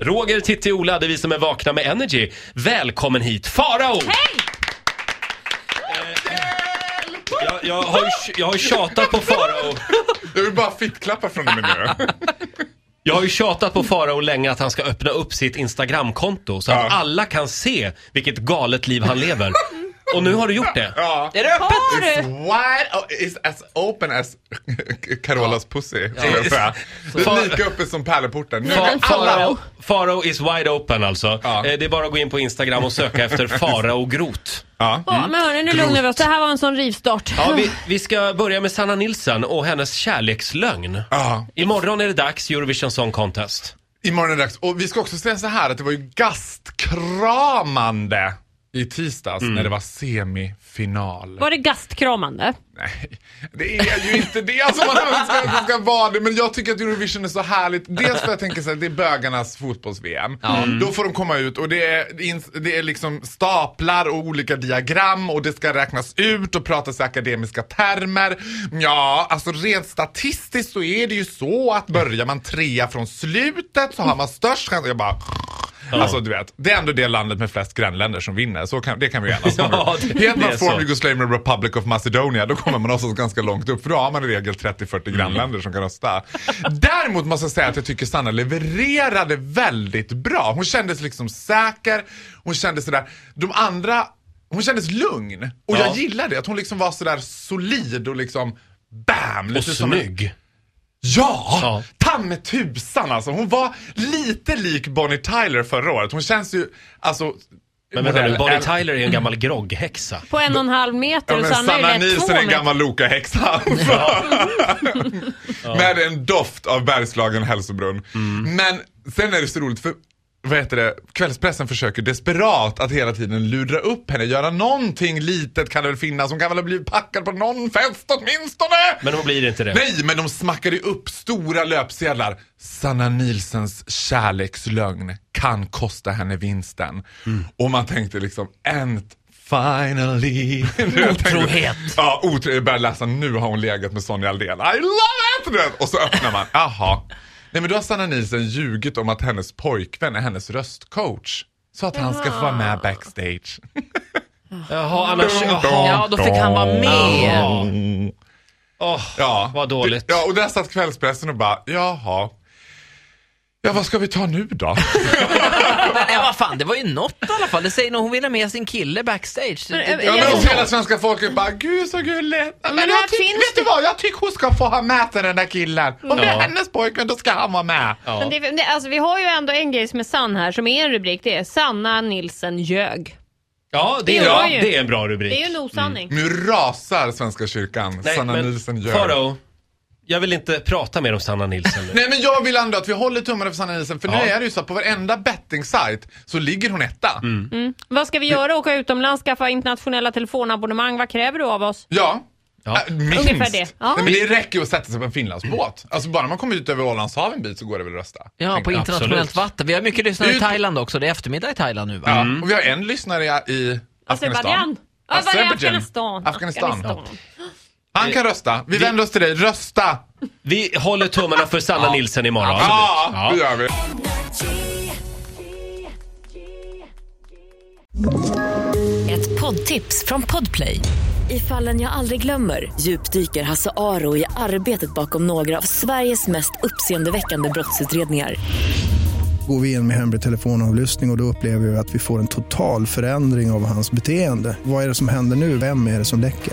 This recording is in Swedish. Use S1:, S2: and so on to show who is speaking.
S1: Roger, Titti, Ola, det är vi som är vakna med Energy. Välkommen hit, Farao! Eh, Jag, jag, har, ju tj- jag har ju tjatat på Farao.
S2: Jag vill bara fittklappa från och med nu.
S1: Jag har ju tjatat på Farao länge att han ska öppna upp sitt Instagramkonto så att
S2: Ja.
S1: alla kan se vilket galet liv han lever. Och nu har du gjort det.
S2: Ja.
S3: Är det öppet?
S2: It's wide, oh, it's as open as Carolas pussy, skulle jag säga. Det
S1: Far-
S2: är lika öppet som pärleporten. Nu
S1: Fa-
S2: kan alla...
S1: Farao Farao is wide open alltså.
S2: Ja.
S1: Eh, Det är bara att gå in på Instagram och söka efter Farao Groth.
S2: Ja.
S4: Ja, men hörni, nu lugnar vi oss. Det här var en sån rivstart.
S1: Ja, vi, Ah. vi ska börja med Sanna Nilsson och hennes kärlekslögn.
S2: Ja.
S1: Imorgon är det dags Eurovision Song Contest.
S2: Imorgon är det dags. Och vi ska också säga så här att det var ju gastkramande i tisdags
S3: Mm.
S2: när det var semifinal.
S4: Var det gastkramande?
S2: Nej, det är ju inte det. Alltså man önskar att det ska vara det. Men jag tycker att Eurovision är så härligt. Dels för jag tänker så här, det är bögarnas fotbolls-VM.
S1: Mm.
S2: Då får de komma ut och det är, ins- det är liksom staplar och olika diagram och det ska räknas ut och pratas i akademiska termer. Ja, alltså rent statistiskt så är det ju så att börjar man trea från slutet så har man störst chans. Jag bara... Alltså du vet, det är ändå det landet med flest grannländer som vinner. Så kan, det kan vi enas om.
S1: Ja, det-
S2: Heter
S1: det är
S2: man Former
S1: så.
S2: Yugoslavian Republic of Macedonia, då kommer man någonstans ganska långt upp. För då har man i regel 30-40
S1: Mm.
S2: grannländer som kan rösta. Däremot måste jag säga att jag tycker Sanna levererade väldigt bra. Hon kändes liksom säker. Hon kändes sådär, de andra, hon kändes lugn. Och
S1: Ja.
S2: jag gillade det, att hon liksom var sådär solid och liksom BAM!
S1: Och
S2: Lite som en-
S1: snygg.
S2: Ja!
S1: Ja.
S2: Ta med tusan alltså. Hon var lite lik Bonnie Tyler förra året. Hon känns ju, alltså...
S1: Men vänta nu,
S2: modell
S1: Bonnie
S2: L-
S1: Tyler är en gammal grogghäxa.
S4: På en och en halv
S2: Ja,
S4: meter och
S2: men
S4: Sanna
S2: Sanna
S4: är ju lätt
S2: Nielsen
S4: två
S2: är en
S4: meter.
S2: gammal Loka-häxa. Med en doft av Bergslagen och Hälsobrunn.
S4: Mm.
S2: Men sen är det så roligt för vad heter det? Kvällspressen försöker desperat att hela tiden lura upp henne. Göra någonting litet kan det väl finnas. Hon kan väl ha blivit packad på någon fest åtminstone.
S1: Men hon blir inte det.
S2: Nej, men de smackade ju upp stora löpsedlar. Sanna Nilsens kärlekslögn kan kosta henne vinsten. Och man tänkte liksom, and finally.
S1: Otrohet.
S2: Ja, otrohet. Jag började läsa, nu har hon legat med Sonja Aldén. I love it! Du vet, Och så öppnar man, aha. Nej men då har Sanna Nielsen ljugit om att hennes pojkvän är hennes röstcoach. Så att han ska få vara med backstage.
S1: Jaha, annars... Jaha.
S3: Ja, då fick han vara med.
S1: Jaha. Åh,
S2: Ja.
S1: Vad dåligt.
S2: Det- Ja, och där satt kvällspressen och bara, jaha. Ja, vad ska vi ta nu då?
S3: Men nej, vad fan, det var ju något i alla fall. Det säger nog hon ville ha med sin kille backstage. Det, det,
S4: Men, eh,
S3: det,
S2: Ja,
S4: Jag
S2: men
S4: vet
S2: och
S4: inte.
S2: hela svenska folket bara, gud så gulligt. Men,
S4: men här
S2: jag tyck,
S4: finns
S2: vet
S4: det-
S2: du vad, jag tycker hon ska få ha med sig den där killen. Om det är hennes pojkvän då ska han vara med.
S4: Men det, det, alltså, vi har ju ändå en grej som är sann här, som är en rubrik. Det är Sanna Nilsen ljög.
S1: Ja, det är,
S4: Det var
S1: ja,
S4: ju-
S1: det är en bra
S4: Det är ju
S1: rubrik.
S2: Mm.
S4: en osanning.
S2: Nu rasar Svenska kyrkan. Sanna Nielsen gör.
S1: Faro, jag vill inte prata mer om Sanna Nilsen nu.
S2: Nej men jag vill ändå att vi håller tummarna för Sanna Nielsen för nu är det ju så att på varenda betting-sajt så ligger hon etta.
S3: Mm.
S4: Vad ska vi göra? Åka utomlands, skaffa internationella telefonabonnemang? Vad kräver du av oss?
S2: Ja.
S1: Ja.
S2: Äh, Minst.
S4: Ungefär det. Ja.
S2: Nej, men det räcker ju att sätta sig på en Finlandsbåt. Alltså bara man kommer ut över Ålandshav en bit så går det väl att rösta.
S3: ja, på
S2: Tänker jag.
S3: internationellt
S1: Absolut.
S3: vatten. Vi har mycket lyssnare i
S2: Ut-
S3: Thailand också. Det är eftermiddag i Thailand nu va?
S2: Ja. Och vi har en lyssnare i- i
S4: Azerbajdzjan?
S2: Afghanistan.
S4: Ja, vad är det?
S2: Azerbajdzjan.
S4: Afghanistan.
S2: Afghanistan. Han kan rösta. Vi
S1: Vi-
S2: vänder oss till dig. Rösta!
S1: Vi håller tummarna för Sanna Nilsen imorgon.
S2: Ja, det gör vi.
S5: Ett poddtips från Podplay. I fallen jag aldrig glömmer djupdyker Hasse Aro i arbetet bakom några av Sveriges mest uppseendeväckande brottsutredningar.
S6: Går vi in med hemlig telefonavlyssning och, och då upplever vi att vi får en total förändring av hans beteende. Vad är det som händer nu? Vem är det som läcker?